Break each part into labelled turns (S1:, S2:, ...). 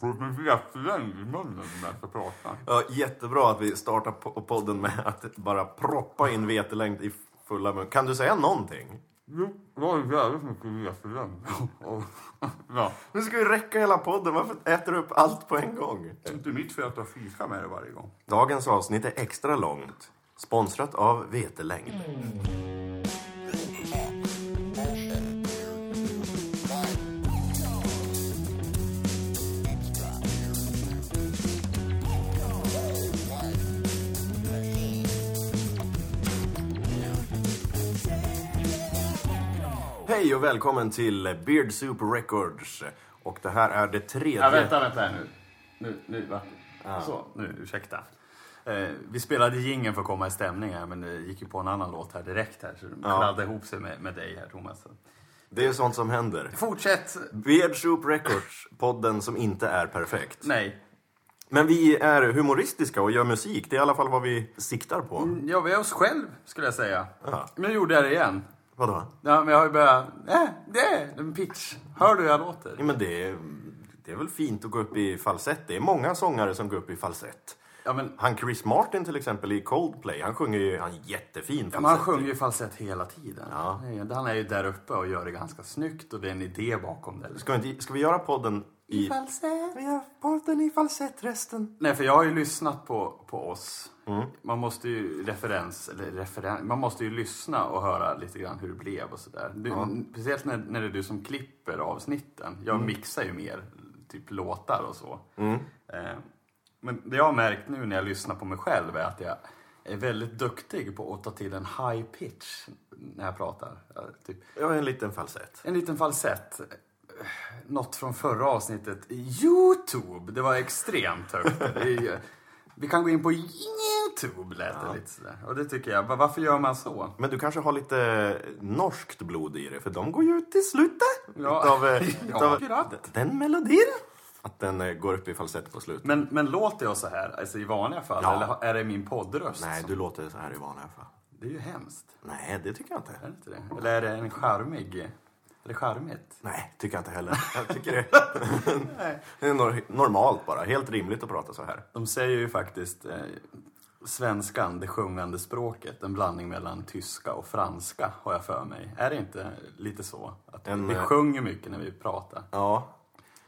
S1: Får du vetlängd i munnen när jag pratar?
S2: Ja, jättebra att vi startar po- podden med att bara proppa in vetelängd i fulla mun. Kan du säga någonting?
S1: Jo, jag har jävligt mycket vetlängd. Och- ja.
S2: Nu ska vi räcka hela podden. Varför äter du upp allt på en gång?
S1: Det är inte mitt fel att jag fikar med det varje gång.
S2: Dagens avsnitt är extra långt. Sponsrat av vetelängd. Hej och välkommen till Beard Soup Records. Och det här är det tredje...
S1: Ja, vänta, vänta här nu. Nu, nu, va? Så, nu, ursäkta. Eh, vi spelade jingeln för att komma i stämning här, men det gick ju på en annan låt här direkt här, så det kladdade ihop sig med, med dig här, Thomas.
S2: Det är sånt som händer.
S1: Fortsätt!
S2: Weird Soup Records, podden som inte är perfekt.
S1: Nej.
S2: Men vi är humoristiska och gör musik, det är i alla fall vad vi siktar på.
S1: Ja, vi är oss själv, skulle jag säga.
S2: Ja.
S1: Men nu gjorde jag det igen.
S2: Vadå?
S1: Ja, men jag har ju börjat... Äh, det är en pitch. Hör du hur jag låter?
S2: Ja, men det, är- det är väl fint att gå upp i falsett, det är många sångare som går upp i falsett.
S1: Ja, men,
S2: Han Chris Martin till exempel i Coldplay, han sjunger ju han är jättefin falsett. typ.
S1: men han sjunger ju falsett hela tiden.
S2: Ja.
S1: Det- Han är ju där uppe och gör det ganska snyggt och det är en idé bakom det.
S2: Ska vi, inte, ska vi göra podden i...
S1: Falsett.
S2: Vi gör podden i falsett resten.
S1: Nej, för jag har ju lyssnat på, på oss.
S2: Mm.
S1: Man måste ju referens, eller referen, man måste ju lyssna och höra lite grann hur det blev och sådär. Du, Speciellt när, när det är du som klipper avsnitten. Jag
S2: Mm.
S1: mixar ju mer, typ låtar och så. Eh, men det jag har märkt nu när jag lyssnar på mig själv är att jag är väldigt duktig på att ta till en high pitch när jag pratar. Ja, Typ,
S2: Ja, en liten falsett.
S1: en liten falsett. Något från förra avsnittet. Youtube! Det var extremt högt. Det är ju- Vi kan gå in på Youtube lät det lite sådär. Och det tycker jag. va- Varför gör man så?
S2: Men du kanske har lite norskt blod i dig, för de går ju ut i slutet.
S1: Ja.
S2: Utav, eh,
S1: Ja,
S2: utav
S1: akkurat.
S2: den melodin. Att den eh, går upp i falsett på slutet.
S1: Men, men låter jag så här alltså i vanliga fall?
S2: Ja.
S1: Eller ha- är det min poddröst?
S2: Nej,
S1: som-
S2: du låter så här i vanliga fall.
S1: Det är ju hemskt.
S2: Nej, det tycker jag inte.
S1: Är det inte det? Eller är det en charmig? Är det charmigt?
S2: Nej, tycker jag inte heller. Jag tycker det. det är nor- normalt bara. Helt rimligt att prata så här.
S1: De säger ju faktiskt eh, svenskan, det sjungande språket, en blandning mellan tyska och franska har jag för mig. Är det inte lite så? Att
S2: En,
S1: vi
S2: eh,
S1: sjunger mycket när vi pratar.
S2: Ja.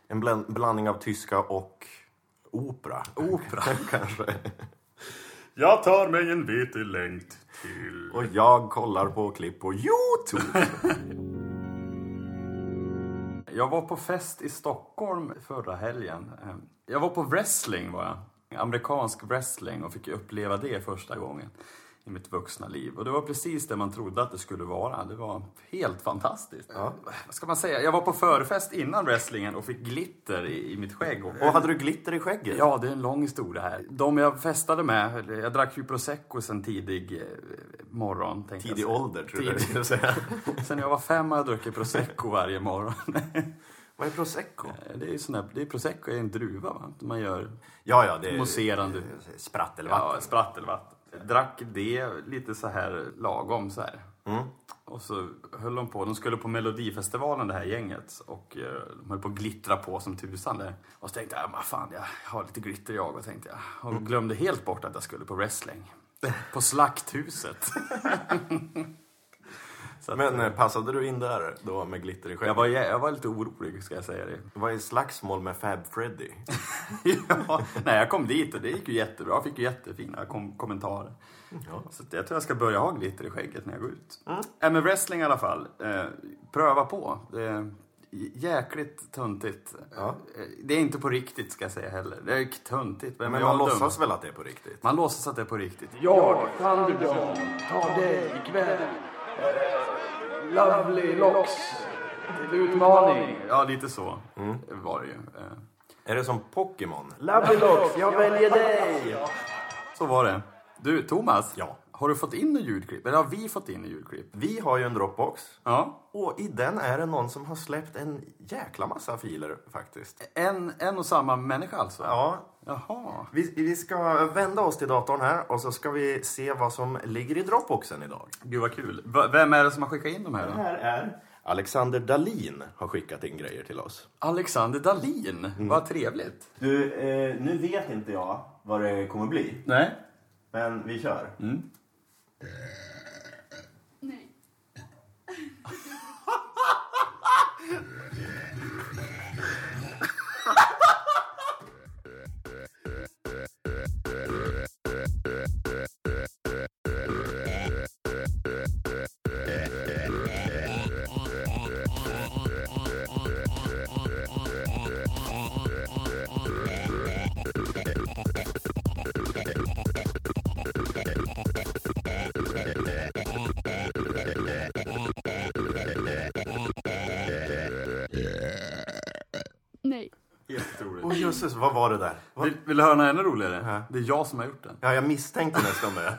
S2: En blan- blandning av tyska och opera.
S1: Opera.
S2: kanske.
S1: Jag tar mig en vete längt till.
S2: Och jag kollar på klipp på Youtube.
S1: Jag var på fest i Stockholm förra helgen. Eh, Jag var på wrestling var jag. Amerikansk wrestling och fick ju uppleva det första gången i mitt vuxna liv. Och det var precis det man trodde att det skulle vara. Det var helt fantastiskt. Eh, Vad ska man säga? Jag var på förfest innan wrestlingen och fick glitter i, i mitt skägg.
S2: och hade du glitter i skägget?
S1: Ja, det är en lång historia här. De jag festade med, eller jag drack ju prosecco sen tidig eh, morgon. tänkte jag
S2: Tidig
S1: säga.
S2: ålder, tror jag
S1: Tidig-
S2: jag skulle säga.
S1: Sen jag var fem har jag druckit prosecco varje morgon. Eh,
S2: Vad är prosecco?
S1: Det är ju sån där, det är prosecco är en druva va? Man gör
S2: Ja, ja, det är...
S1: mousserande
S2: Sprattelvatten.
S1: ja, sprattelvatten. Drack det lite så här lagom så här. Och så höll de på, de skulle på Melodifestivalen det här gänget och eh, de höll på att glittra på som tusan där. Och så tänkte jag, "Men fan jag har lite glitter jag och tänkte jag. Och glömde helt bort att jag skulle på wrestling. På Slakthuset. så att,
S2: Men eh, passade du in där då med glitter i
S1: jag
S2: skägget?
S1: var, jä- jag var lite orolig ska jag säga det.
S2: Vad är slagsmål med Fab Freddy?
S1: ja, nej, jag kom dit och det gick ju jättebra. Jag fick ju jättefina kom- kommentarer. Så att jag tror jag ska börja ha glitter i skägget när jag går ut.
S2: Mm.
S1: Äh, men wrestling i alla fall. Eh, pröva på. Det är j- jäkligt töntigt. Eh, Det är inte på riktigt ska jag säga heller. Det är töntigt. Vem är
S2: Men
S1: jag
S2: man
S1: dum?
S2: låtsas väl att det är på riktigt?
S1: Man låtsas att det är på riktigt.
S3: Jag, Thunderdome, tar dig ikväll. Eh, Lovely Locks till utmaning.
S1: Ja, lite så
S2: Mm.
S1: var det ju. Eh,
S2: Är det som Pokémon?
S3: Lovely Locks, jag väljer dig.
S1: Så var det. Du, Thomas.
S2: Ja.
S1: Har du fått in en ljudklipp? Eller har vi fått in en ljudklipp?
S2: Vi har ju en Dropbox
S1: Ja.
S2: och i den är det någon som har släppt en jäkla massa filer faktiskt.
S1: En, en och samma människa alltså?
S2: Ja,
S1: Jaha.
S2: vi, vi ska vända oss till datorn här och så ska vi se vad som ligger i Dropboxen idag.
S1: Gud vad kul. V- vem är det som har skickat in de här då?
S2: här är Alexander Dalin har skickat in grejer till oss.
S1: Alexander Dahlin, vad trevligt.
S2: Du, eh, nu vet inte jag vad det kommer bli,
S1: Nej.
S2: men vi kör.
S4: Nej. Nej.
S1: Jätteroligt.
S2: Åh jösses, vad var det där? Vad-
S1: Vill, vill du höra något ännu roligare?
S2: Ja.
S1: Det är jag som har gjort den.
S2: Ja, jag misstänkte nästan det.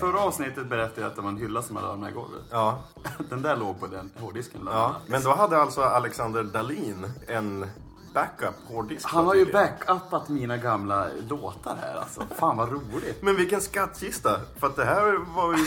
S1: Förra avsnittet berättade jag att det var en hylla som hade öppnat i golvet.
S2: Ja,
S1: Den där låg på den hårddisken. bland
S2: ja.
S1: annat.
S2: Men då hade alltså Alexander Dalin en backup hårddisk.
S1: Han har ju
S2: tydligen.
S1: backupat mina gamla låtar här alltså. Fan vad roligt.
S2: Men vilken skattkista! För att det här var ju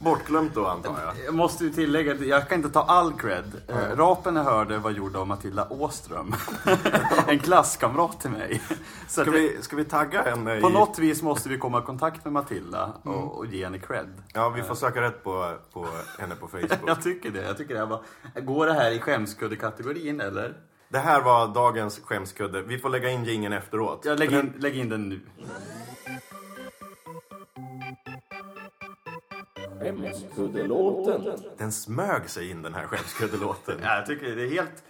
S2: bortglömt då antar jag.
S1: Jag måste ju tillägga att jag kan inte ta all cred. Eh, Rapen jag hörde var gjord av Matilda Åström. en klasskamrat till mig. Så att
S2: Ska vi, ska vi tagga henne
S1: på
S2: i...
S1: något vis måste vi komma i kontakt med Matilda och, och ge henne cred.
S2: Ja, vi får söka rätt på, på henne på Facebook.
S1: Jag tycker det. Jag tycker det här var... Går det här i skämskuddekategorin eller?
S2: Det här var dagens skämskudde. Vi får lägga in gingen efteråt.
S1: Jag lägger in, lägg in den nu.
S3: Skämskuddelåten.
S2: Den smög sig in den här skämskuddelåten.
S1: Ja, jag tycker det är helt,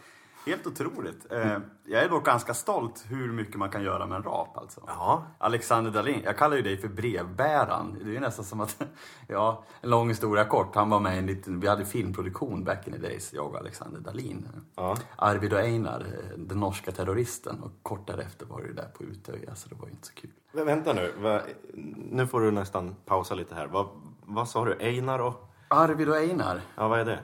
S1: helt otroligt. Eh, jag är dock ganska stolt hur mycket man kan göra med en rap alltså.
S2: Ja,
S1: Alexander Dahlin, jag kallar ju dig för brevbäraren. Det är ju nästan som att, ja, en lång historia kort. Han var med i en liten, vi hade filmproduktion back in the days, jag och Alexander Dahlin.
S2: Ja.
S1: Arvid och Einar, eh, den norska terroristen. Och kort därefter var det ju där på Utöja, så det var ju inte så kul.
S2: Vä- vänta nu. Va, nu får du nästan pausa lite här. Va, vad sa du? Einar och...
S1: Arvid och Einar,
S2: Ja, vad är det?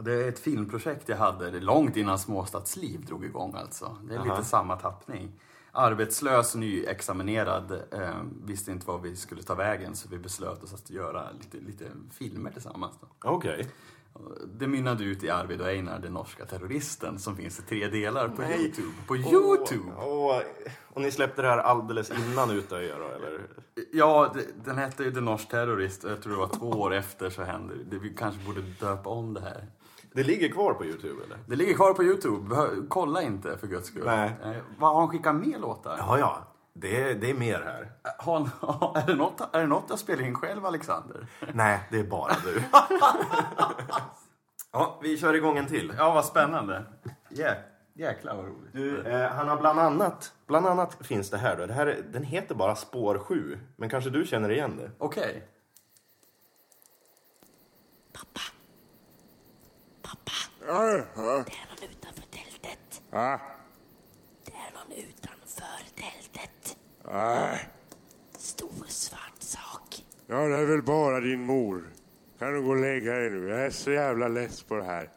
S1: det är ett filmprojekt jag hade det är långt innan Småstadsliv drog igång alltså. Det är lite samma tappning. Arbetslös, nyexaminerad, eh, visste inte vad vi skulle ta vägen så vi beslöt oss att göra lite, lite filmer tillsammans. Då.
S2: Okej.
S1: Det mynnade ut i Arvid och Einar, den norska terroristen, som finns i tre delar på Youtube. På Youtube!
S2: Åh, och ni släppte det här alldeles innan Utöja då, eller?
S1: Ja, det- den hette ju Den norsk terrorist och jag tror det var två år efter så hände det. Vi kanske borde döpa om det här.
S2: Det ligger kvar på Youtube, eller?
S1: Det ligger kvar på Youtube. Behö- Kolla inte för guds skull.
S2: Nej.
S1: Eh, vad, har han skickat med låtar?
S2: Ja, ja. Det, är- det är mer här.
S1: Har han, är, det något, är det något jag spelar in själv, Alexander?
S2: Nej, det är bara du. ja, vi kör igång en till.
S1: Ja, vad spännande. Yeah. Jäklar vad roligt.
S2: Du, eh, han har bland annat, bland annat finns det här då. Det här, är- den heter bara Spår 7, men kanske du känner igen det?
S1: Okej.
S5: Det är någon utanför tältet. Det är någon utanför tältet.
S6: Nej,
S5: Stor svart sak.
S6: ja det är väl bara din mor. Kan du gå och lägga dig nu? Jag är så jävla less på det här.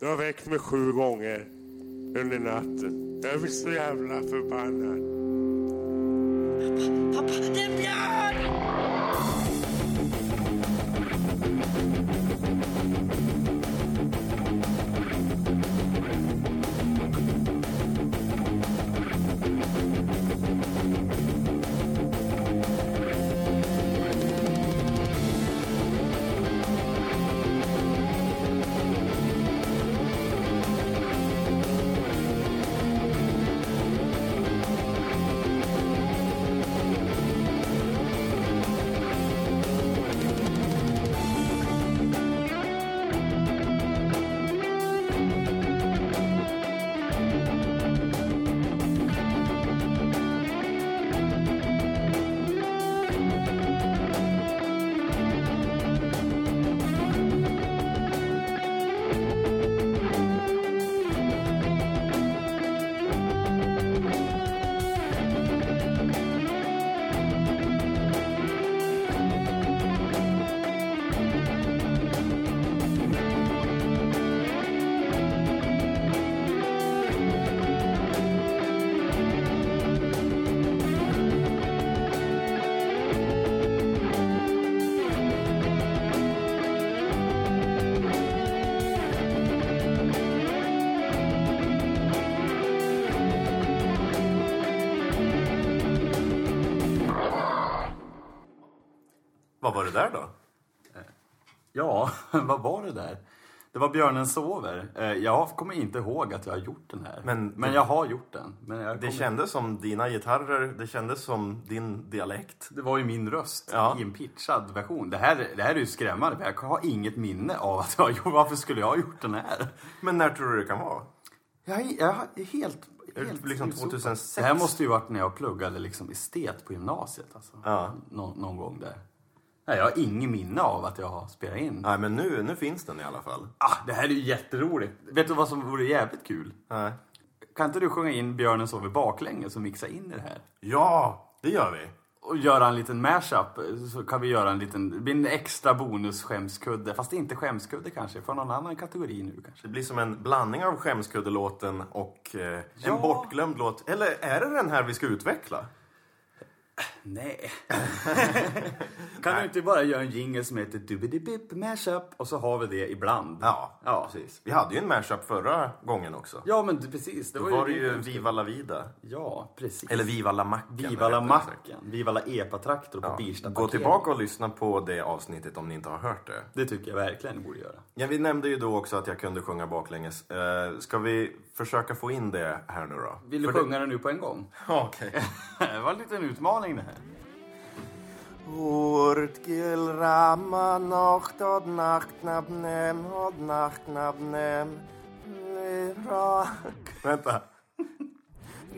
S6: Du har väckt mig sju gånger under natten. Jag blir så jävla förbannad.
S5: Pappa, det är en björn!
S6: Åh
S2: Vad var det där då?
S1: Eh, Ja, vad var det där? Det var Björnen sover. Eh, Jag kommer inte ihåg att jag har gjort den här.
S2: Men-
S1: jag har gjort den. Men jag
S2: Det
S1: kommer-
S2: kändes som dina gitarrer, det kändes som din dialekt.
S1: det var ju min röst
S2: Ja.
S1: i en pitchad version. Det här, det här är ju skrämmande. för Jag har inget minne av att jag har gjort... Varför skulle jag ha gjort den här?
S2: Men när tror du det kan vara?
S1: Jag är, jag är helt...
S2: Är det
S1: helt
S2: liksom
S1: utsopad.
S2: 2006?
S1: Det här måste ju varit när jag pluggade liksom estet på gymnasiet. Alltså.
S2: Ja.
S1: Nå, någon gång där. Nej, jag har ingen minne av att jag har spelat in.
S2: Nej, men nu, nu finns den i alla fall.
S1: Ah, det här är ju jätteroligt. Vet du vad som vore jävligt kul?
S2: Nej.
S1: Kan inte du sjunga in Björnen sover baklänges och mixa in i det här?
S2: Ja, det gör vi.
S1: Och göra en liten mashup så kan vi göra en liten, det blir en extra bonus skämskudde. Fast inte skämskudde kanske, från någon annan kategori nu kanske.
S2: Det blir som en blandning av skämskuddelåten och eh,
S1: Ja.
S2: en bortglömd låt. Eller är det den här vi ska utveckla?
S1: Nej. kan du inte bara göra en jingle som heter Dubidibip mashup och så har vi det ibland?
S2: Ja,
S1: Ja.
S2: precis. Vi hade ju en mashup förra gången också.
S1: Ja men du- precis, det
S2: Då
S1: var,
S2: var det
S1: det
S2: ju Viva la vida.
S1: Ja, precis.
S2: Eller Viva la macken.
S1: Viva la
S2: rättare sagt.
S1: macken, Viva la epatraktor på
S2: Ja.
S1: Birsta
S2: Gå
S1: parkering.
S2: tillbaka och lyssna på det avsnittet om ni inte har hört det.
S1: Det tycker jag verkligen ni borde göra.
S2: Ja, vi nämnde ju då också att jag kunde sjunga baklänges. Eh, ska vi försöka få in det här nu då?
S1: Vill du
S2: För det-
S1: sjunga den nu på en gång?
S2: Ja, Okej.
S1: det var en liten utmaning det här.
S2: Urtgil rama nacht od nacht nabnem od nacht nabnem ra... Vänta.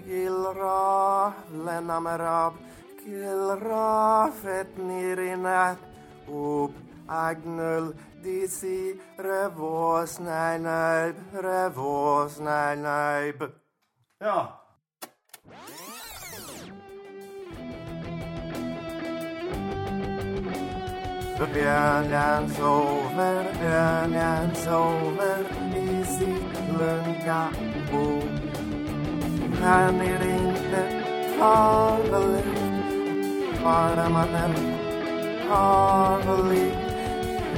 S2: Gil ra lenam rab gil ra fet nirinat ob agnul disi revos najnajb revos najnajb Ja. Björnen sover, björnen sover i sitt lugna bo. Han är inte farlig, bara man är farlig.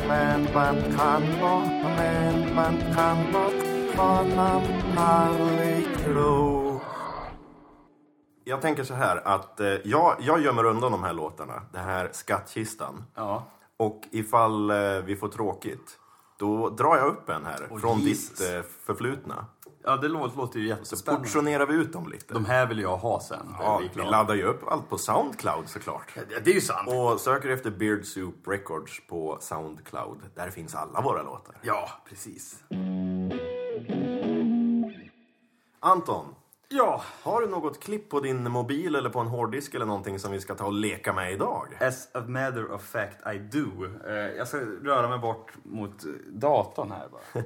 S2: Men man kan bort, men man kan bort honom aldrig tro. Jag tänker så här att eh, jag, jag gömmer undan de här låtarna, den här skattkistan.
S1: Ja.
S2: Och ifall eh, vi får tråkigt, då drar jag upp en här från
S1: Jesus.
S2: ditt eh, förflutna.
S1: Ja, det låter, låter ju jättespännande.
S2: Portionerar vi ut dem lite.
S1: De här vill jag ha sen.
S2: ja,
S1: Det är
S2: vi
S1: klart.
S2: laddar ju upp allt på Soundcloud såklart.
S1: Ja, det är ju sant.
S2: Och söker efter Beard Soup Records på Soundcloud. Där finns alla våra låtar.
S1: Ja, precis.
S2: Anton,
S1: Ja,
S2: har du något klipp på din mobil eller på en hårddisk eller någonting som vi ska ta och leka med idag?
S1: as a matter of fact I do. Eh, jag ska röra mig bort mot eh, datorn här bara.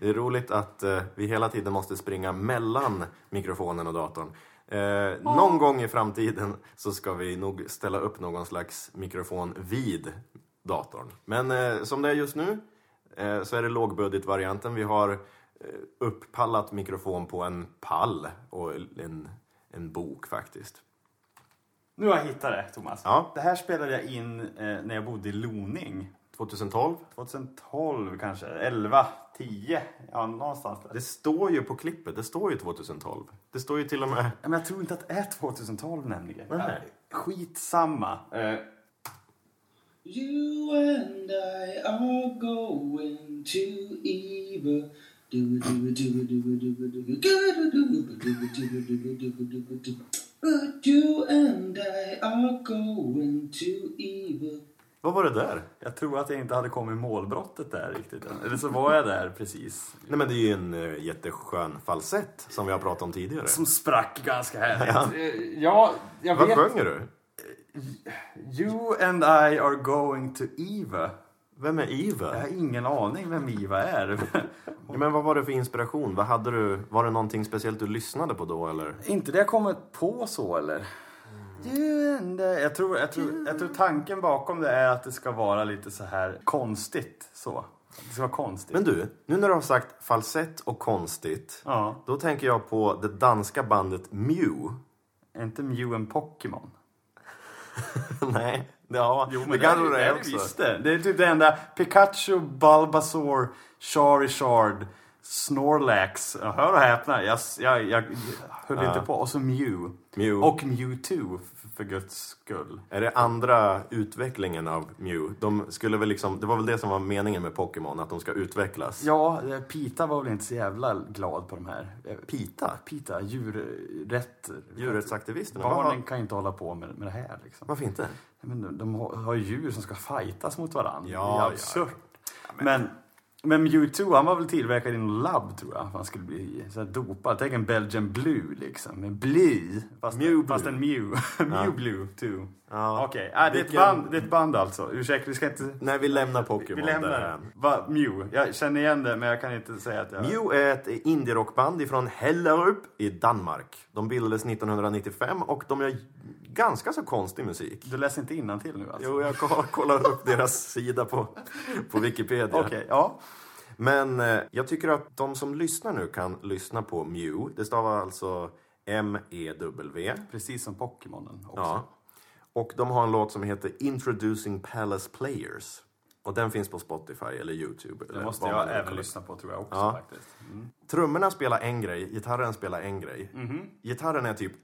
S2: Det är roligt att eh, vi hela tiden måste springa mellan mikrofonen och datorn. Eh, Någon gång i framtiden så ska vi nog ställa upp någon slags mikrofon vid datorn. Men eh, som det är just nu eh, så är det lågbudgetvarianten. Vi har eh, upppallat mikrofon på en pall och en, en bok faktiskt.
S1: Nu har jag hittat det, Thomas.
S2: Ja.
S1: Det här spelade jag in eh, när jag bodde i Loning.
S2: 2012.
S1: 2012 kanske, 11, 10. Ja, någonstans där.
S2: Det står ju på klippet, det står ju 2012. Det står ju till och med...
S1: Men jag tror inte att det är 2012 nämligen.
S2: Nej.
S1: Skitsamma. Eh,
S7: You and I are going to Eva. Do do do do do do do do do do But you and I are going to Eva.
S2: Vad var det där?
S1: Jag tror att jag inte hade kommit i målbrottet där riktigt än. Eller så var jag där precis.
S2: Nej men det är ju en eh, jätteskön falsett som vi har pratat om tidigare.
S1: Som sprack ganska härligt. Eh, Ja, jag
S2: Vad
S1: vet.
S2: sjunger du?
S1: You and I are going to Eva.
S2: Vem är Eva?
S1: Jag har ingen aning vem Eva är.
S2: Ja, men vad var det för inspiration? Vad hade du? Var det någonting speciellt du lyssnade på då eller?
S1: inte det jag kommit på så eller? You and I. Jag tror, jag, tror, jag tror tanken bakom det är att det ska vara lite så här konstigt. Så. Det ska vara konstigt.
S2: Men du, nu när du har sagt falsett och konstigt.
S1: Ja.
S2: Då tänker jag på det danska bandet Mew.
S1: Är inte Mew en Pokémon?
S2: Nej, ja,
S1: Jo, men
S2: det
S1: det,
S2: kanske
S1: är,
S2: det
S1: det
S2: är
S1: är
S2: också.
S1: visst det. Det är typ det enda. Pikachu, Bulbasaur, Charizard, Snorlax. Hör och häpna, jag, jag, jag höll inte på. Och så Mew.
S2: Mew.
S1: Och Mewtwo, f- för guds skull.
S2: Är det andra utvecklingen av Mew? De skulle väl liksom, det var väl det som var meningen med Pokémon, att de ska utvecklas?
S1: Ja, eh, Pita var väl inte så jävla glad på de här. Eh,
S2: Pita?
S1: Pita, djurrätt.
S2: Djurrättsaktivisterna?
S1: Barnen
S2: Vad-
S1: kan ju inte hålla på med, med det här. Liksom.
S2: Varför inte?
S1: Nej, Men de- de har har ju djur som ska fightas mot varandra.
S2: Ja,
S1: det är
S2: ja.
S1: absurt. men... men Mewtwo, han var väl tillverkad i någon labb tror jag. för Han skulle bli så här dopad. Tänk en Belgian Blue liksom. En Bly. Fast,
S2: Mewblue.
S1: fast en Mew. Mewblue too.
S2: Ja.
S1: Okej, ah, det, är ett
S2: Vilken-
S1: band- det är ett band alltså. Ursäkta, vi ska inte...
S2: Nej, vi lämnar
S1: Vi
S2: Pokémon
S1: lämnar det.
S2: därhän.
S1: Va, Mew. Jag känner igen det men jag kan inte säga att jag...
S2: Mew är ett indierockband ifrån Hellerup i Danmark. De bildades 1995 och de gör ganska så konstig musik.
S1: Du läser inte innantill nu alltså?
S2: Jo, jag ko- kollar upp deras sida på, på Wikipedia.
S1: Okej, ja.
S2: Men eh, jag tycker att de som lyssnar nu kan lyssna på Mew. Det stavar alltså M-E-W.
S1: Precis som Pokémonen också.
S2: Ja. Och de har en låt som heter Introducing Palace Players. Och den finns på Spotify eller Youtube.
S1: Det
S2: eller
S1: måste
S2: vad man nu
S1: jag även
S2: kollar.
S1: lyssna på tror jag också
S2: Ja.
S1: faktiskt. Mm.
S2: Trummorna spelar en grej, gitarren spelar en grej. Gitarren är typ...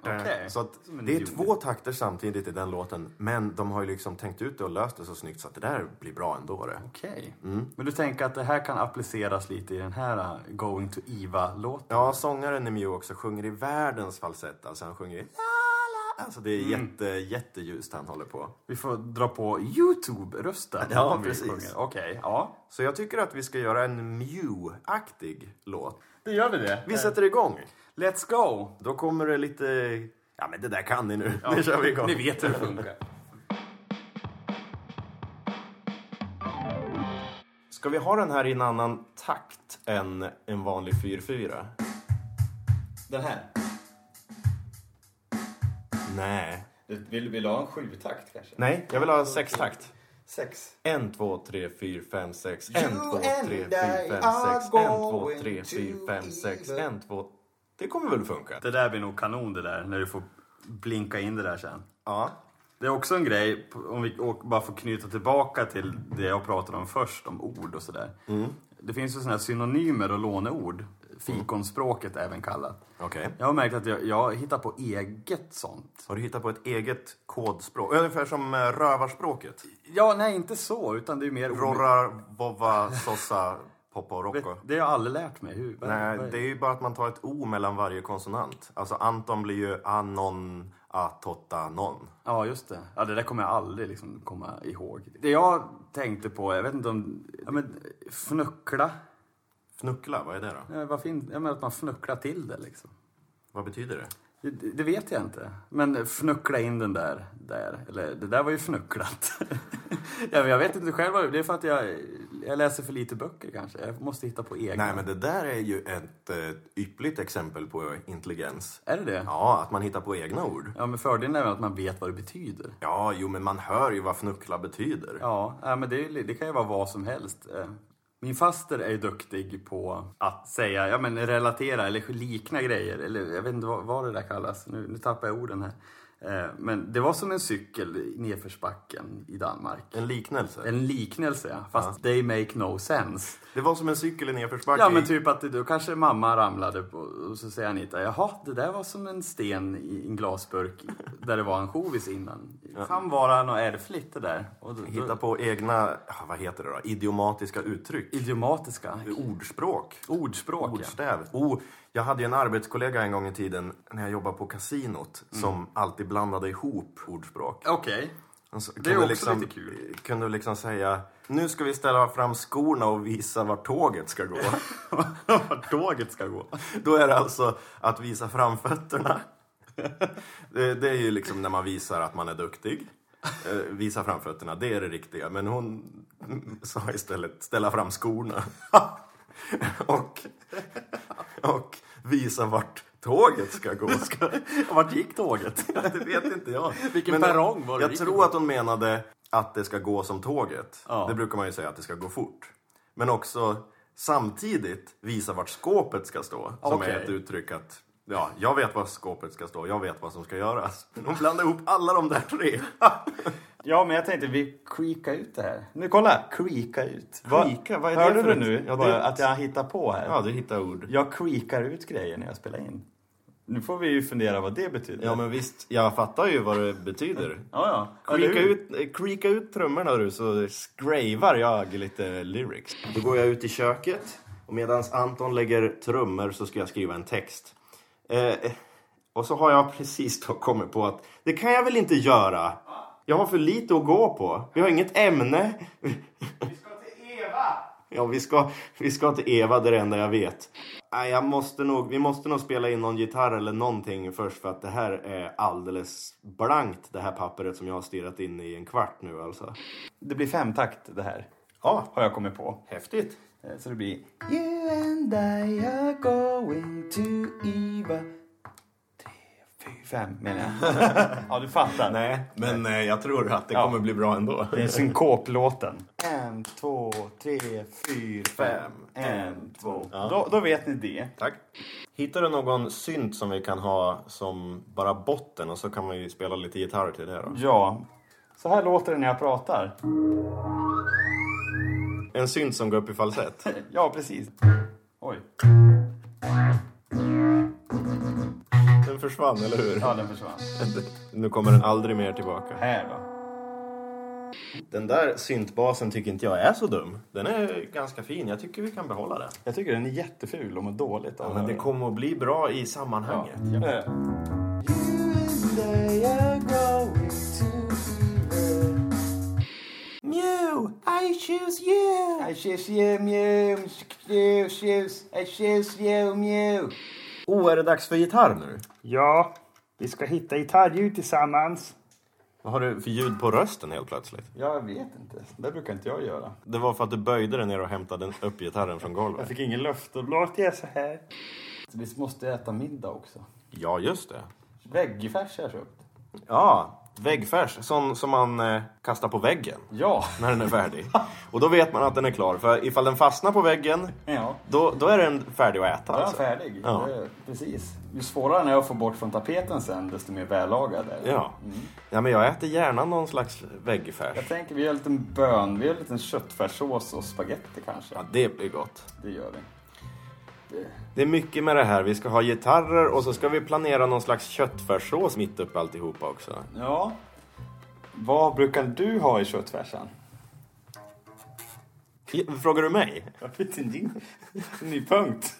S1: Okej.
S2: Så att
S1: Som en
S2: det är
S1: jul.
S2: två takter samtidigt i den låten, men de har ju liksom tänkt ut det och löst det så snyggt så att det där blir bra ändå. Det.
S1: Okej. Men du tänker att det här kan appliceras lite i den här uh, Going to Eva-låten?
S2: Ja, sångaren i Mew också sjunger i världens falsett. Alltså han sjunger i... la, la. Alltså det
S1: Mm.
S2: är jätte, jätteljust han håller på.
S1: Vi får dra på Youtube-rösten.
S2: Ja,
S1: om vi
S2: precis.
S1: sjunger. Okej, ja.
S2: Så jag tycker att vi ska göra en Mew-aktig låt.
S1: Det gör vi det.
S2: Vi sätter igång!
S1: Let's go!
S2: Då kommer det lite... Ja, men det där kan ni nu. Nu kör vi igång.
S1: Ni vet hur det funkar.
S2: Ska vi ha den här i en annan takt än en vanlig 4-4?
S1: Den här.
S2: Nej.
S1: Vill, vill du ha en sjutakt kanske?
S2: Nej, jag vill ha en sextakt.
S1: Sex.
S2: 1, 2, 3, 4, 5, 6. 1, 2, 3, 4, 5, 6. 1, 2, 3, 4, 5, 6. 1, 2... Det kommer väl funka?
S1: Det där blir nog kanon det där, när du får blinka in det där sen.
S2: Ja.
S1: Det är också en grej, om vi å- bara får knyta tillbaka till det jag pratade om först, om ord och sådär. Det finns ju sådana här synonymer och låneord, fikonspråket även kallat.
S2: Okej.
S1: Jag har märkt att jag, jag hittar på eget sånt.
S2: Har du hittat på ett eget kodspråk? Ungefär som eh, rövarspråket.
S1: Ja, nej inte så, utan det är mer...
S2: Rorra, vova, sossa, poppa och rocko.
S1: Det har jag aldrig lärt mig. Hur, vad-
S2: Nej,
S1: vad-
S2: det är ju bara att man tar ett O mellan varje konsonant. Alltså Anton blir ju anon, atotta, non.
S1: Ja, just det. Ja, det där kommer jag aldrig liksom komma ihåg. Det jag tänkte på, jag vet inte om... Ja, men fnuckla.
S2: Fnuckla, vad är det då?
S1: Ja, vad fint. Ja, men att man fnucklar till det liksom.
S2: Vad betyder det?
S1: Det, det vet jag inte. Men fnuckla in den där, där. Eller det där var ju fnucklat. ja, men jag vet inte själv vad det Det är för att jag, jag läser för lite böcker kanske. Jag måste hitta på egna.
S2: Nej, men det där är ju ett eh, yppligt exempel på intelligens.
S1: Är det det?
S2: Ja, att man hittar på egna ord.
S1: Ja, men fördelen är väl att man vet vad det betyder.
S2: Ja, jo, men man hör ju vad fnuckla betyder.
S1: Ja, ja, men det, är ju- det kan ju vara vad som helst. Eh, Min faster är ju duktig på att säga, ja men relatera eller likna grejer. Eller jag vet inte vad, vad det där kallas. Nu, nu tappar jag orden här. Eh, Men det var som en cykel i nedförsbacken i Danmark.
S2: En liknelse.
S1: En liknelse, ja. Fast they make no sense.
S2: Det var som en cykel i nedförsbacke.
S1: Ja, men typ att då kanske mamma ramlade på, och så säger Anita, jaha, det där var som en sten i en glasburk där det var en chovis innan. Kan vara något ärftligt det där. Och då,
S2: Hitta
S1: då,
S2: på egna, ah, vad heter det då, idiomatiska uttryck.
S1: idiomatiska.
S2: Ordspråk.
S1: Ordspråk, ja.
S2: Ordstäv. Oh, jag hade ju en arbetskollega en gång i tiden när jag jobbade på kasinot
S1: Mm.
S2: som alltid blandade ihop ordspråk.
S1: Okej.
S2: Han så-
S1: är också lite kul.
S2: Kunde liksom säga, nu ska vi ställa fram skorna och visa vart tåget ska gå.
S1: Vart tåget ska gå.
S2: Då är det alltså att visa framfötterna. Det, det är ju liksom när man visar att man är duktig. Eh, Visa framfötterna, det är det riktiga. Men hon mm, sa istället ställa fram skorna. och, och visa vart tåget ska gå.
S1: Vart gick tåget?
S2: Det vet inte jag.
S1: Vilken perrong var det
S2: Jag
S1: gick
S2: tror att hon menade att det ska gå som tåget.
S1: Ja.
S2: Det brukar man ju säga att det ska gå fort. Men också samtidigt visa vart skåpet ska stå. Som
S1: Okej.
S2: är ett uttryck att Ja, jag vet var skåpet ska stå, jag vet vad som ska göras. De blandar ihop alla de där tre.
S1: Ja, men jag tänkte vi creakar ut det här. Nu kolla! Creaka ut. Vad-
S2: Creaka? Vad är det
S1: Hörde
S2: för
S1: du nu
S2: ett- Ja, det
S1: vad-
S2: är ett-
S1: att jag hittar på här?
S2: Ja, du hittar ord.
S1: Jag creakar ut grejer när jag spelar in. Nu får vi ju fundera vad det betyder.
S2: Ja, men visst, jag fattar ju vad det betyder.
S1: ja, ja. Eller
S2: Creaka
S1: hur?
S2: ut, eh, creaka ut trummorna du så skrävar jag lite lyrics. Då går jag ut i köket och medan Anton lägger trummor så ska jag skriva en text. Eh, och så har jag precis då kommit på att det kan jag väl inte göra. Jag har för lite att gå på. Vi har inget ämne. Vi ska till Eva! Ja, vi ska, vi ska till Eva, det är det enda jag vet. Nej, jag måste nog, vi måste nog spela in någon gitarr eller någonting först för att det här är alldeles blankt, det här pappret som jag har stirrat in i en kvart nu alltså.
S1: Det blir femtakt det här.
S2: Ja,
S1: Har jag kommit på.
S2: häftigt.
S1: Eh, Så det blir You and I are going to Eva. Tre, fyra, fem menar jag. ja, du fattar.
S2: Nej, men eh, jag tror att det
S1: Ja.
S2: kommer bli bra ändå.
S1: Det är synkoplåten. En, två, tre, fyra, fem. En, två. Då, då vet ni det.
S2: Tack. Hittar du någon synt som vi kan ha som bara botten och så kan vi spela lite gitarr till det då?
S1: Ja. Så här låter det när jag pratar.
S2: En synt som går upp i falsett.
S1: Ja, precis. Oj.
S2: Den försvann, eller hur?
S1: Ja, den försvann.
S2: Nu kommer den aldrig mer tillbaka.
S1: Här då.
S2: Den där syntbasen tycker inte jag är så dum. Den är ganska fin. Jag tycker vi kan behålla den.
S1: Jag tycker den är jätteful och mår dåligt av
S2: Men det kommer att bli bra i sammanhanget. Eh.
S1: Ja.
S2: Mew, I choose you!
S1: I choose you, Mew. You choose. I choose you, Mew.
S2: Oh, är det dags för gitarr nu?
S8: Ja, vi ska hitta gitarrljud tillsammans.
S2: Vad har du för ljud på rösten helt plötsligt?
S1: Jag vet inte. Det brukar inte jag göra.
S2: Det var för att du böjde dig ner och hämtade upp gitarren från golvet.
S1: fick ingen löfte.
S8: Då låter jag så här.
S1: Vi måste äta middag också.
S2: Ja, just det.
S1: Veggiefärs har jag köpt.
S2: Ja, väggfärs. Sån som man eh, kastar på väggen
S1: Ja.
S2: när den är färdig. Och då vet man att den är klar. För ifall den fastnar på väggen,
S1: Ja.
S2: då, då är den färdig att
S1: Då
S2: äta.
S1: är han
S2: alltså.
S1: färdig.
S2: Ja.
S1: Det är- Precis. Ju svårare när jag får bort från tapeten sen, desto mer vällagad är den.
S2: Ja. ja, men jag äter gärna någon slags väggfärs.
S1: Mm. Jag tänker vi gör en liten bön, vi gör en liten köttfärssås och spagetti kanske.
S2: Ja, det blir gott.
S1: Det gör vi.
S2: Det är mycket med det här. Vi ska ha gitarrer och så ska vi planera någon slags köttfärssås mitt uppe alltihopa också.
S1: Ja. Vad brukar du ha i köttfärsen?
S2: Frågar du mig?
S1: Jag vet inte. En ny punkt.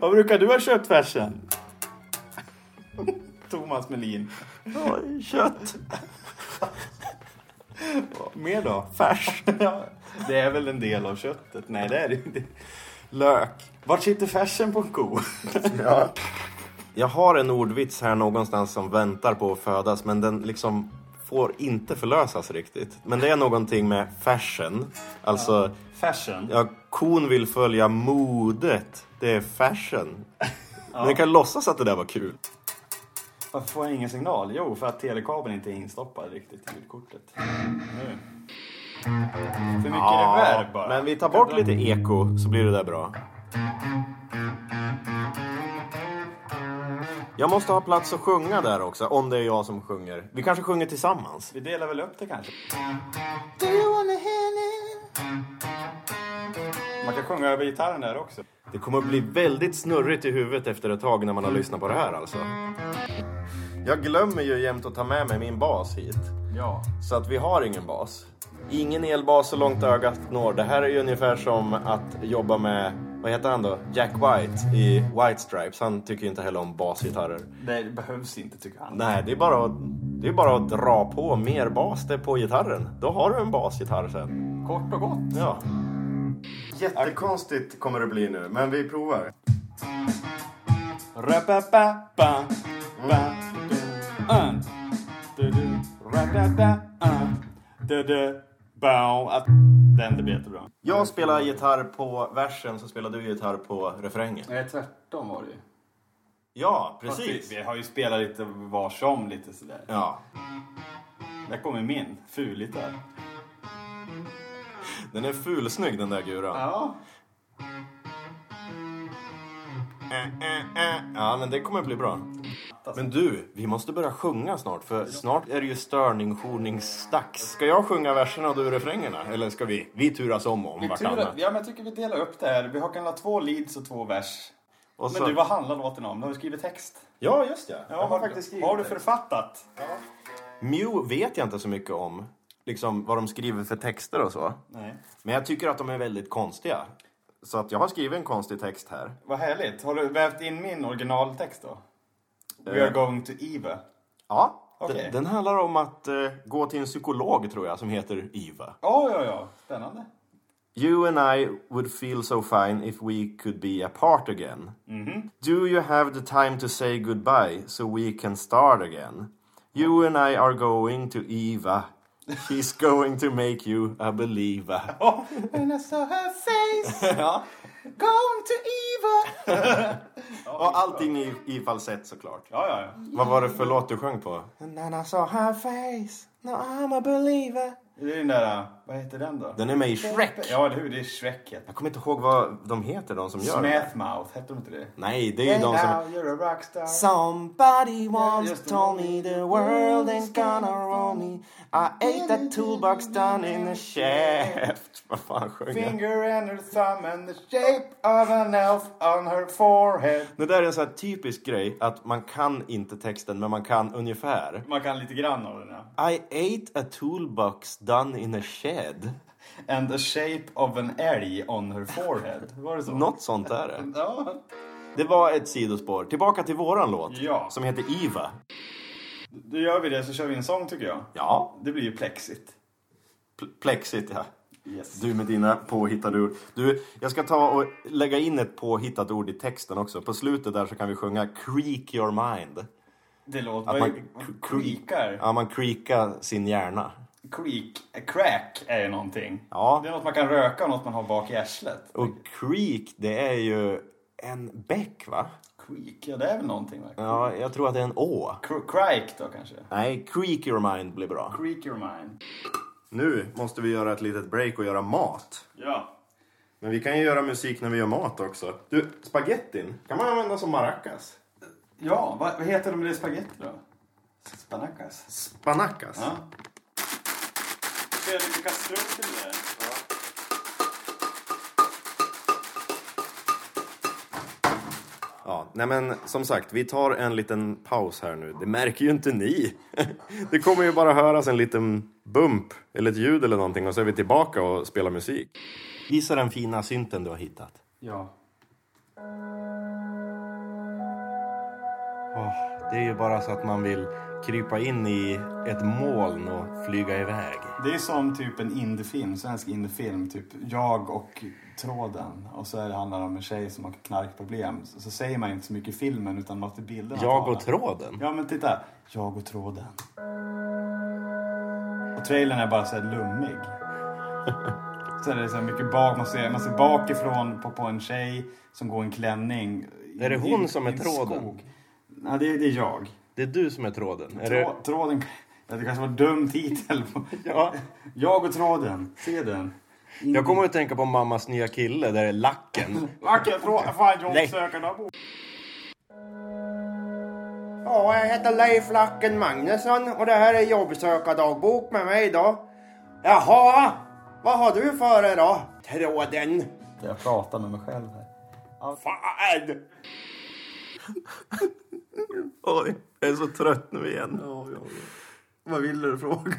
S1: Vad brukar du ha i köttfärsen? Thomas Melin.
S2: Kött.
S1: Mer då?
S2: Färs.
S1: Ja, det är väl en del av köttet? Nej, det är det inte.
S2: Lök.
S1: Vart sitter färsen på en ko?
S2: Jag har en ordvits här någonstans som väntar på att födas men den liksom får inte förlösas riktigt. Men det är någonting med fashion. Alltså,
S1: Färsen?
S2: ja, kon vill följa modet. Det är fashion. Men jag kan låtsas att det där var kul.
S1: Varför får jag ingen signal? Jo, för att telekabeln inte är instoppad riktigt i ljudkortet. Nu. För mycket reverb bara.
S2: men vi tar bort lite eko så blir det där bra. Jag måste ha plats att sjunga där också, om det är jag som sjunger. Vi kanske sjunger tillsammans?
S1: Vi delar väl upp det kanske. Man kan sjunga över gitarren där också.
S2: Det kommer att bli väldigt snurrigt i huvudet efter ett tag när man har lyssnat på det här alltså. Jag glömmer ju jämt att ta med mig min bas hit.
S1: Ja.
S2: Så att vi har ingen bas. Ingen elbas så långt ögat når. Det här är ju ungefär som att jobba med, vad heter han då? Jack White i White Stripes. Han tycker ju inte heller om basgitarrer.
S1: Det behövs inte tycker han.
S2: Nej, det är bara att, det är bara att dra på mer bas där på gitarren. Då har du en basgitarr sen.
S1: Kort och gott.
S2: Ja. Jättekonstigt kommer det bli nu, men vi provar.
S1: Ra-ba-ba-ba. Ba, du, an. Du, du. Ra-ba-ba, an. Du, du. Bao. Att- Den, det blir jättebra.
S2: Jag spelar gitarr på versen så spelar du gitarr på refrängen.
S1: Nej, tvärtom var det ju.
S2: Ja,
S1: Precis.
S2: precis.
S1: Vi har ju spelat lite var som lite sådär.
S2: Ja,
S1: Där kommer min. Fuligt där.
S2: den är fulsnygg den där guran.
S1: Ja.
S2: Ja, men det kommer bli bra. Men du, vi måste börja sjunga snart för snart är det ju störning, dags Ska jag sjunga verserna och du refrängerna? Eller ska vi? Vi turas om om
S8: Vi turar,
S2: vartannat.
S8: ja, men jag tycker vi delar upp det här. Vi har kan ha två leads och två vers.
S2: Och
S8: Men
S2: så-
S8: du, vad handlar låten om? Du har ju skrivit text.
S2: Ja, just det.
S8: Ja, har, du, har du författat?
S2: Mew vet jag inte så mycket om. Liksom vad de skriver för texter och så.
S8: Nej.
S2: Men jag tycker att de är väldigt konstiga. Så att jag har skrivit en konstig text här.
S8: Vad härligt. Har du vävt in min originaltext då? We are going to Eva.
S2: Ja.
S8: Okej.
S2: Den, den handlar om att eh, gå till en psykolog tror jag som heter Iva.
S8: Ja, ja, ja. Spännande.
S2: You and I would feel so fine if we could be apart again. Do you have the time to say goodbye so we can start again? You and I are going to Eva. She's going to make you a believer.
S8: And I saw her face
S2: ja.
S8: going to Eva.
S2: Och allting i, i falsett såklart.
S8: Ja, ja, ja.
S2: Vad var det för låt du sjöng på?
S8: And then I saw her face. Now I'm a believer. Det är den där, vad heter den då?
S2: Den är med i Shrek.
S8: Ja, eller hur? Det är Shrek. heter
S2: Jag kommer inte ihåg vad de heter, de som
S8: den.
S2: gör det.
S8: Smathmouth, hette de inte det?
S2: Nej, det är ju de som...
S8: now you're a rockstar.
S2: Somebody
S8: once told me the world ain't gonna roll
S2: me I ate that toolbox down in the shaft Vad fan sjöng jag?
S8: Finger and her thumb and the shape of an elf on her forehead.
S2: Det där är en sån här typisk grej att man kan inte texten men man kan ungefär.
S8: Man kan lite grann av den ja.
S2: I ate a toolbox done in a shed.
S8: And the shape of an älg on her forehead. Var det så?
S2: Något sånt är det.
S8: Ja.
S2: Det var ett sidospår. Tillbaka till våran låt.
S8: Ja.
S2: Som heter Iva.
S8: Då gör vi det så kör vi en sång tycker jag.
S2: Ja.
S8: Det blir ju plexit.
S2: pl- Plexit ja.
S8: Yes.
S2: Du med dina påhittade ord. Du, jag ska ta och lägga in ett påhittat ord i texten också. På slutet där så kan vi sjunga Creak your mind.
S8: Det låter...
S2: Att
S8: Vad
S2: man
S8: är-
S2: cre-
S8: creakar?
S2: Ja, man creakar sin hjärna.
S8: Creak, eh, crack är ju någonting.
S2: Ja.
S8: Det är något man kan röka och något man har bak i arslet.
S2: Och creak, det är ju en bäck va?
S8: Creak, ja det är väl någonting va?
S2: Ja, jag tror att det är en å.
S8: Cr- Crike då kanske?
S2: Nej, creak your mind blir bra.
S8: Creak your mind.
S2: Nu måste vi göra ett litet break och göra mat.
S8: Ja.
S2: Men vi kan ju göra musik när vi gör mat också. Du, spagettin kan man använda som maracas.
S8: Ja, vad, vad heter de med det spagetti då? Spanacas?
S2: Spanacas.
S8: Ja. Ser lite kastrull till det där.
S2: Ja, nej men som sagt, vi tar en liten paus här nu. Det märker ju inte ni. Det kommer ju bara höras en liten bump eller ett ljud eller någonting och så är vi tillbaka och spelar musik. Visa den fina synten du har hittat.
S8: Ja.
S2: det är ju bara så att man vill krypa in i ett moln och flyga iväg.
S8: Det är som typ en indiefilm, svensk indiefilm. Typ jag och tråden. Och så är det, handlar det om en tjej som har knarkproblem. Så, så säger man inte så mycket i filmen utan låter bilderna
S2: Jag
S8: tala.
S2: och tråden.
S8: Ja men titta. Jag och tråden. Och trailern är bara så här lummig. Så är det så här mycket bak, man ser, man ser bakifrån på, på en tjej som går i en klänning. i-
S2: Är det hon
S8: i-
S2: som
S8: i
S2: är
S8: en
S2: tråden?
S8: skog. Nej det, det är jag.
S2: Det är du som är tråden. Är det...
S8: Trå, tråden, ja, det kanske var en dum titel.
S2: Ja.
S8: Jag och tråden, se den.
S2: Jag kommer att tänka på mammas nya kille, där är lacken.
S8: Vacker tråd, fan
S2: Nej.
S8: jobbsökarna bor.
S2: Ja, jag heter Leif Lacken Magnusson och det här är jobbsökardagbok med mig då. Jaha, vad har du för dig då? Tråden.
S8: Jag pratar med mig själv här.
S2: Fan! Oj, jag är så trött nu igen. Vad vill du fråga?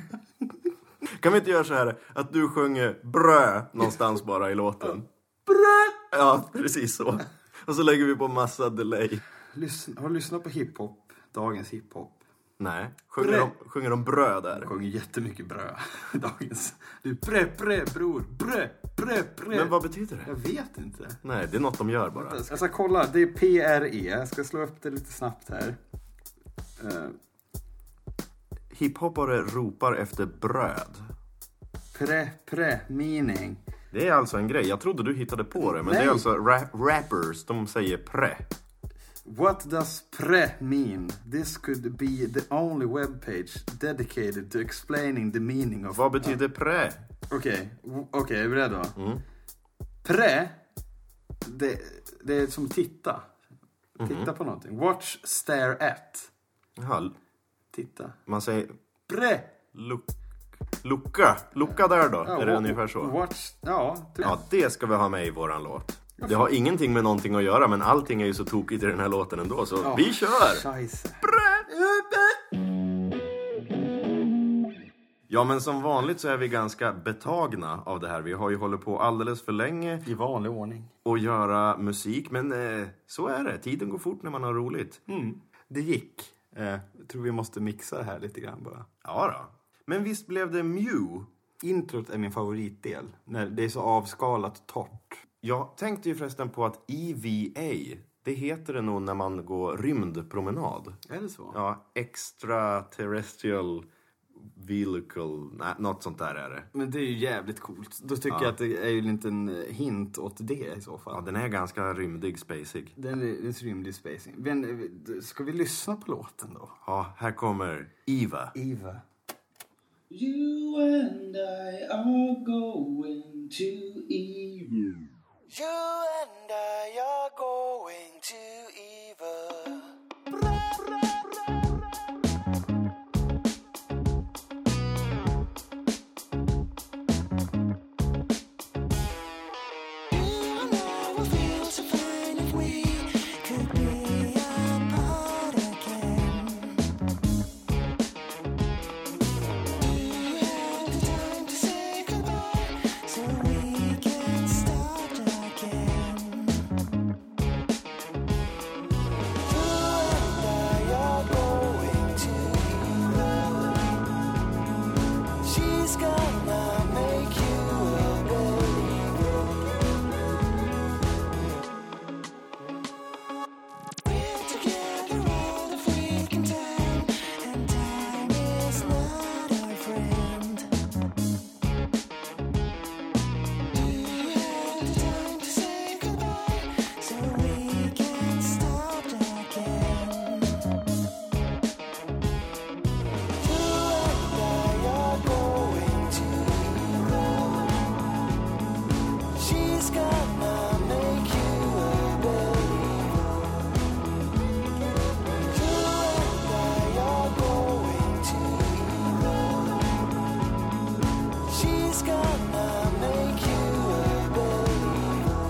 S2: Kan vi inte göra så här att du sjunger brö någonstans bara i låten? Brö! Ja, precis så. Och så lägger vi på massa delay.
S1: har du lyssnat på hiphop? Dagens hiphop?
S2: Nej, sjunger de, sjunger de brö där?
S1: sjunger jättemycket brö. Dagens. Du brö, brö, bror. Brö, brö, brö.
S2: Men vad betyder det?
S1: Jag vet inte.
S2: Nej, det är något de gör bara.
S1: Jag ska kolla. Det är PRE. Jag ska slå upp det lite snabbt här. Eh,
S2: Hiphoppare ropar efter bröd.
S1: pre, pre, meaning.
S2: Det är alltså en grej. Jag trodde du hittade på det. Men det
S1: Nej.
S2: är alltså ra- rappers, de säger pre.
S1: What does pre mean? This could be the only webpage dedicated to explaining the meaning of...
S2: Vad betyder pre?
S1: Okej, okej, är du
S8: Mm.
S1: beredd då? Pre, det, det är som titta.
S8: Titta på någonting. Watch, stare at.
S2: Jaha,
S8: Titta.
S2: man säger
S8: Bre!
S2: look, lucka. Lucka där då. är det
S8: wa-
S2: ungefär så?
S8: Watch, ja. Typ.
S2: Ja, det ska vi ha med i våran låt. Det har ingenting med någonting att göra, men allting är ju så tokigt i den här låten ändå, så vi kör!
S8: Scheisse.
S2: Ja, men som vanligt så är vi ganska betagna av det här. Vi har ju hållit på alldeles för länge
S8: I vanlig ordning.
S2: att göra musik, men eh, så är det. Tiden går fort när man har roligt.
S8: Det gick. Mm. Eh, jag tror vi måste mixa det här lite grann bara.
S2: Ja då. Men visst blev det Mew?
S8: Introt är min favoritdel. När det är så avskalat torrt.
S2: Jag tänkte ju förresten på att EVA, det heter det nog när man går rymdpromenad.
S8: Är det så?
S2: Ja, extraterrestrial vehicle, nej, något sånt där är det.
S8: Men det är ju jävligt coolt. Då tycker jag att det är ju en liten hint åt det i så fall.
S2: Ja, den är ganska rymdig, spacig.
S8: Den är en rymdig spacing. Men, ska vi lyssna på låten då?
S2: Ja, här kommer Eva.
S8: Eva.
S7: You and I are going to evil. You and I are going to evil.
S5: She's gonna make you a believer. She's gonna make you a believer. She's gonna make you a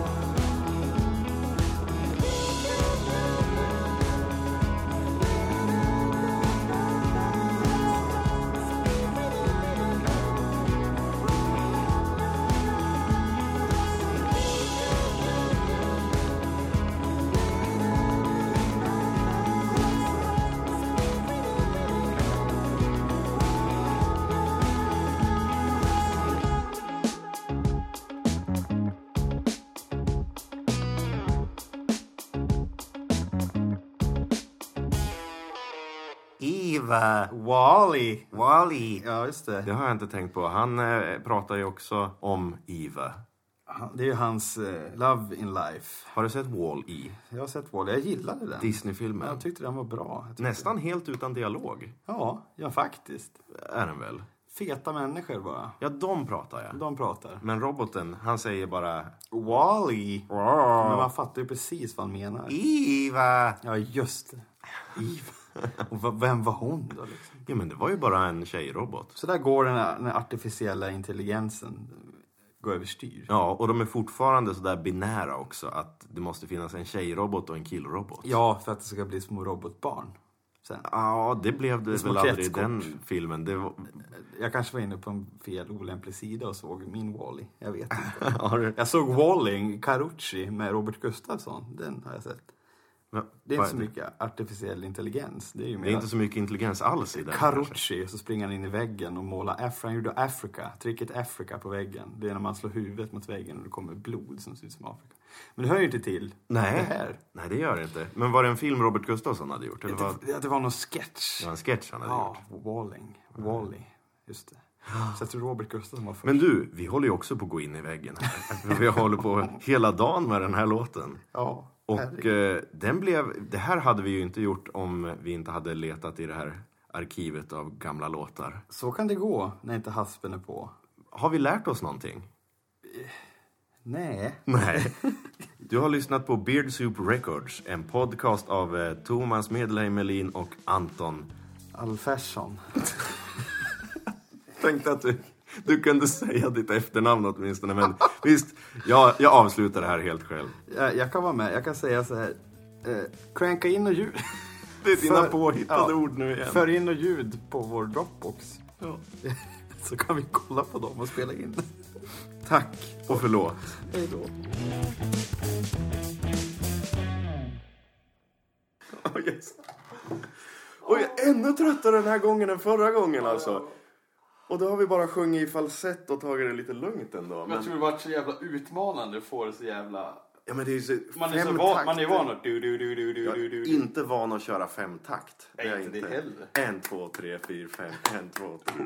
S2: Eva!
S8: Wally.
S2: Wally!
S8: Ja, just det.
S2: Det har jag inte tänkt på. Han eh, pratar ju också om Eva.
S8: Han- Det är ju hans eh, Love in Life.
S2: Har du sett Wall-E?
S8: Jag har sett Wally. Jag gillade den.
S2: Disney-filmen.
S8: Jag tyckte den var bra. Jag tyckte-
S2: Nästan helt utan dialog
S8: Ja, ja faktiskt.
S2: är den väl?
S8: Feta människor bara.
S2: Ja, de pratar jag.
S8: De pratar.
S2: Men roboten, han säger bara
S8: Wally. Men man fattar ju precis vad han menar.
S2: Eva!
S8: Ja, just det. Eva. Och v- vem var hon då liksom?
S2: Ja, men det var ju bara en tjejrobot.
S8: Så där går den, här, den här artificiella intelligensen går överstyr.
S2: Ja, och de är fortfarande sådär binära också. Att det måste finnas en tjejrobot och en killrobot.
S8: Ja, för att det ska bli små robotbarn. Sen.
S2: Ja, det blev det,
S8: små
S2: väl aldrig i
S8: kretskort.
S2: den filmen. Det var...
S8: Jag kanske var inne på en fel olämplig sida och såg min Wally. Jag vet inte.
S2: Har du-
S8: Jag såg Walling Carucci med Robert Gustafsson. Den har jag sett.
S2: Men-
S8: Det är
S2: vad
S8: inte så mycket artificiell intelligens. Det är ju
S2: Det är
S8: mer
S2: inte så mycket intelligens alls i den. kanske.
S8: Carucci, så springer han in i väggen och målar Africa. Han gjorde Africa, tricket Africa på väggen. Det är när man slår huvudet mot väggen och det kommer blod som ser ut som Afrika. Men det hör ju inte till
S2: Nej.
S8: det här.
S2: Nej, det gör det inte. Men var det en film Robert Gustafsson hade gjort? Eller var...
S8: Det, det var någon sketch.
S2: Det var en sketch han hade
S8: Ja,
S2: gjort.
S8: Walling. Wally. Just det. Så jag tror Robert Gustafsson var först.
S2: Men du, vi håller ju också på att gå in i väggen. här. vi håller på hela dagen med den här låten.
S8: ja,
S2: Och
S8: herregud.
S2: eh, den blev... Det här hade vi ju inte gjort om vi inte hade letat i det här arkivet av gamla låtar.
S8: Så kan det gå när inte haspen är på.
S2: Har vi lärt oss någonting?
S8: Nej.
S2: Nej. Du har lyssnat på Beard Soup Records, en podcast av eh, Thomas Medelheim Melin och Anton.
S1: Alfersson.
S2: Tänkte att du, du kunde säga ditt efternamn åtminstone, men visst, jag, jag avslutar det här helt själv.
S1: Jag, jag kan vara med. Jag kan säga så här. Eh, cranka in och ljud.
S2: Det är dina
S1: För-
S2: påhittade
S1: ja.
S2: ord nu igen.
S1: För in och ljud på vår Dropbox. Så kan vi kolla på dem och spela in.
S2: Tack och förlåt.
S1: Hej då.
S2: Oh, yes. Och jag är ännu tröttare den här gången än förra gången alltså. Och då har vi bara sjungit i falsett och tagit det lite lugnt ändå.
S8: Jag
S2: Men,
S8: tror det varit så jävla utmanande att få det så jävla...
S2: ja, men det är ju så,
S9: Man är, så
S2: fem
S9: van, man
S2: takter.
S9: är van att du du du du du
S2: Jag
S9: du du
S2: är
S9: du.
S2: inte van att köra femtakt.
S8: Nej, inte det heller.
S2: En, två, tre, fyra, fem. En, två, tre.